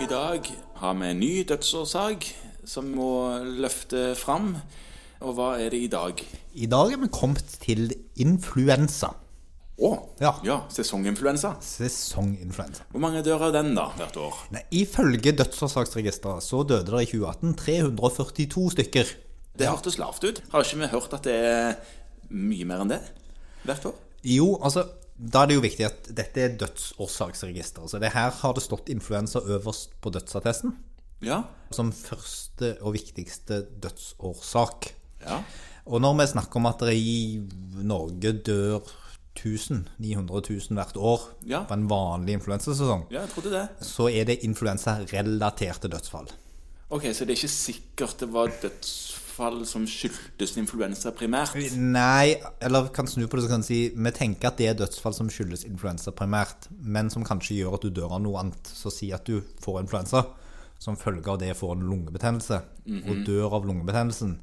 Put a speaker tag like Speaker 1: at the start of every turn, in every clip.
Speaker 1: i dag har vi en ny dødsårsak som må løfte fram. Og hva er det i dag?
Speaker 2: I dag er vi kommet til influensa.
Speaker 1: Å!
Speaker 2: Ja.
Speaker 1: ja, sesonginfluensa.
Speaker 2: Sesonginfluensa.
Speaker 1: Hvor mange dør av den da, hvert år?
Speaker 2: Nei, Ifølge dødsårsaksregisteret så døde det i 2018 342 stykker.
Speaker 1: Det hørtes lavt ut. Har ikke vi hørt at det er mye mer enn det hvert år?
Speaker 2: Jo, altså da er det jo viktig at dette er dødsårsaksregisteret. Så det her har det stått influensa øverst på dødsattesten
Speaker 1: Ja.
Speaker 2: som første og viktigste dødsårsak.
Speaker 1: ja.
Speaker 2: Og når vi snakker om at det i Norge dør 1000, 900 000 hvert år
Speaker 1: Ja.
Speaker 2: på en vanlig influensasesong,
Speaker 1: Ja, jeg trodde det.
Speaker 2: så er det influensarelaterte dødsfall.
Speaker 1: Ok, Så det er ikke sikkert det var dødsfall som skyldtes influensa primært?
Speaker 2: Nei, eller kan snu på det så kan jeg si Vi tenker at det er dødsfall som skyldes influensa primært, men som kanskje gjør at du dør av noe annet. Så si at du får influensa, som følge av det får en lungebetennelse, og dør av lungebetennelsen,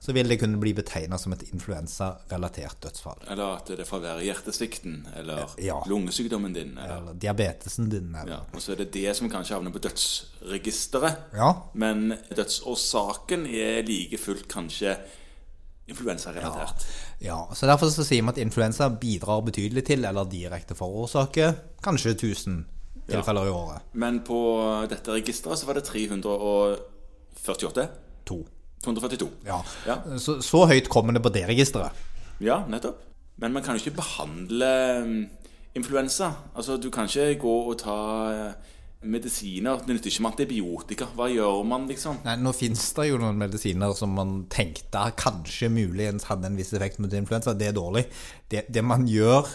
Speaker 2: så vil det kunne bli betegna som et influensarelatert dødsfall.
Speaker 1: Eller at det får være hjertesvikten eller
Speaker 2: Ja.
Speaker 1: lungesykdommen din. Eller.
Speaker 2: Eller diabetesen din. Eller.
Speaker 1: Ja. Og så er det det som kanskje havner på dødsregisteret.
Speaker 2: Ja.
Speaker 1: Men dødsårsaken er like fullt kanskje influensarelatert.
Speaker 2: Ja, så Derfor så sier vi at influensa bidrar betydelig til, eller direkte forårsaker, kanskje 1000 tilfeller i året.
Speaker 1: Men på dette registeret så var det 348.
Speaker 2: To.
Speaker 1: 242.
Speaker 2: Ja.
Speaker 1: Ja.
Speaker 2: Så, så høyt kommer det på det registeret.
Speaker 1: Ja, nettopp. Men man kan jo ikke behandle mm, influensa. Altså, du kan ikke gå og ta eh, medisiner. Det nytter ikke med antibiotika. Hva gjør man, liksom?
Speaker 2: Nei, Nå fins det jo noen medisiner som man tenkte kanskje muligens hadde en viss effekt mot influensa. Det er dårlig. Det, det man gjør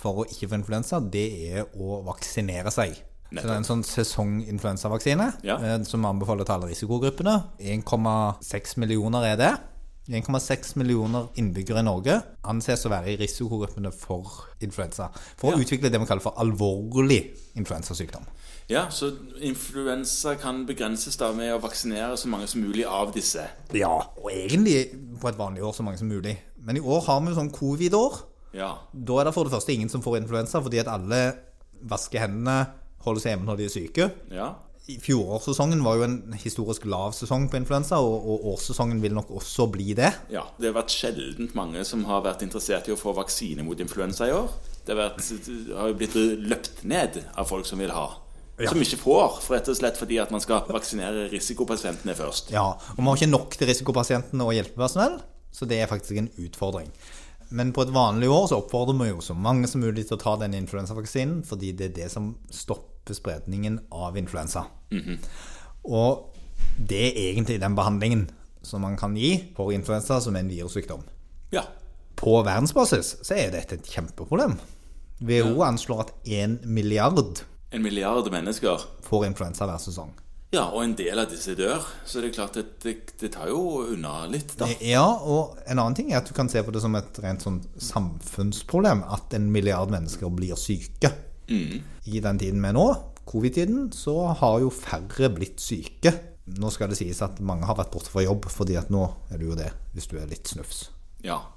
Speaker 2: for å ikke få influensa, det er å vaksinere seg. Så det er en sånn sesonginfluensavaksine
Speaker 1: Ja.
Speaker 2: eh, som anbefaler til alle risikogruppene. 1,6 millioner er det. 1,6 millioner innbyggere i Norge anses å være i risikogruppene for influensa. For å utvikle det vi kaller for alvorlig influensasykdom.
Speaker 1: Ja, så influensa kan begrenses da med å vaksinere så mange som mulig av disse.
Speaker 2: Ja, og egentlig på et vanlig år så mange som mulig. Men i år har vi jo sånn covid-år.
Speaker 1: Ja.
Speaker 2: Da er det for det første ingen som får influensa, fordi at alle vasker hendene, holder seg hjemme når de er syke.
Speaker 1: Ja.
Speaker 2: I Fjorårssesongen var jo en historisk lav sesong på influensa, og, og årssesongen vil nok også bli det.
Speaker 1: ja. Det har vært sjeldent mange som har vært interessert i å få vaksine mot influensa i år. Det har, vært, det har jo blitt løpt ned av folk som vil ha.
Speaker 2: Ja.
Speaker 1: Som ikke får, for rett og slett fordi at man skal vaksinere risikopasientene først.
Speaker 2: Ja, og vi har ikke nok til risikopasientene og hjelpepersonell, så det er faktisk en utfordring. Men på et vanlig år så oppfordrer vi jo så mange som mulig til å ta den influensavaksinen, fordi det er det som stopper spredningen av influensa. Og det er egentlig den behandlingen som man kan gi for influensa, som er en virussykdom.
Speaker 1: Ja.
Speaker 2: På verdensbasis så er dette et kjempeproblem. WHO anslår at én milliard
Speaker 1: En milliard mennesker.
Speaker 2: får influensa hver sesong.
Speaker 1: Ja, og en del av disse dør. Så det er klart at det, det tar jo unna litt, da.
Speaker 2: Ja, og en annen ting er at du kan se på det som et rent sånn samfunnsproblem at en milliard mennesker blir syke. I den tiden vi er nå, covid-tiden, så har jo færre blitt syke. Nå skal det sies at mange har vært borte fra jobb, fordi at nå er du jo det hvis du er litt snufs.
Speaker 1: Ja.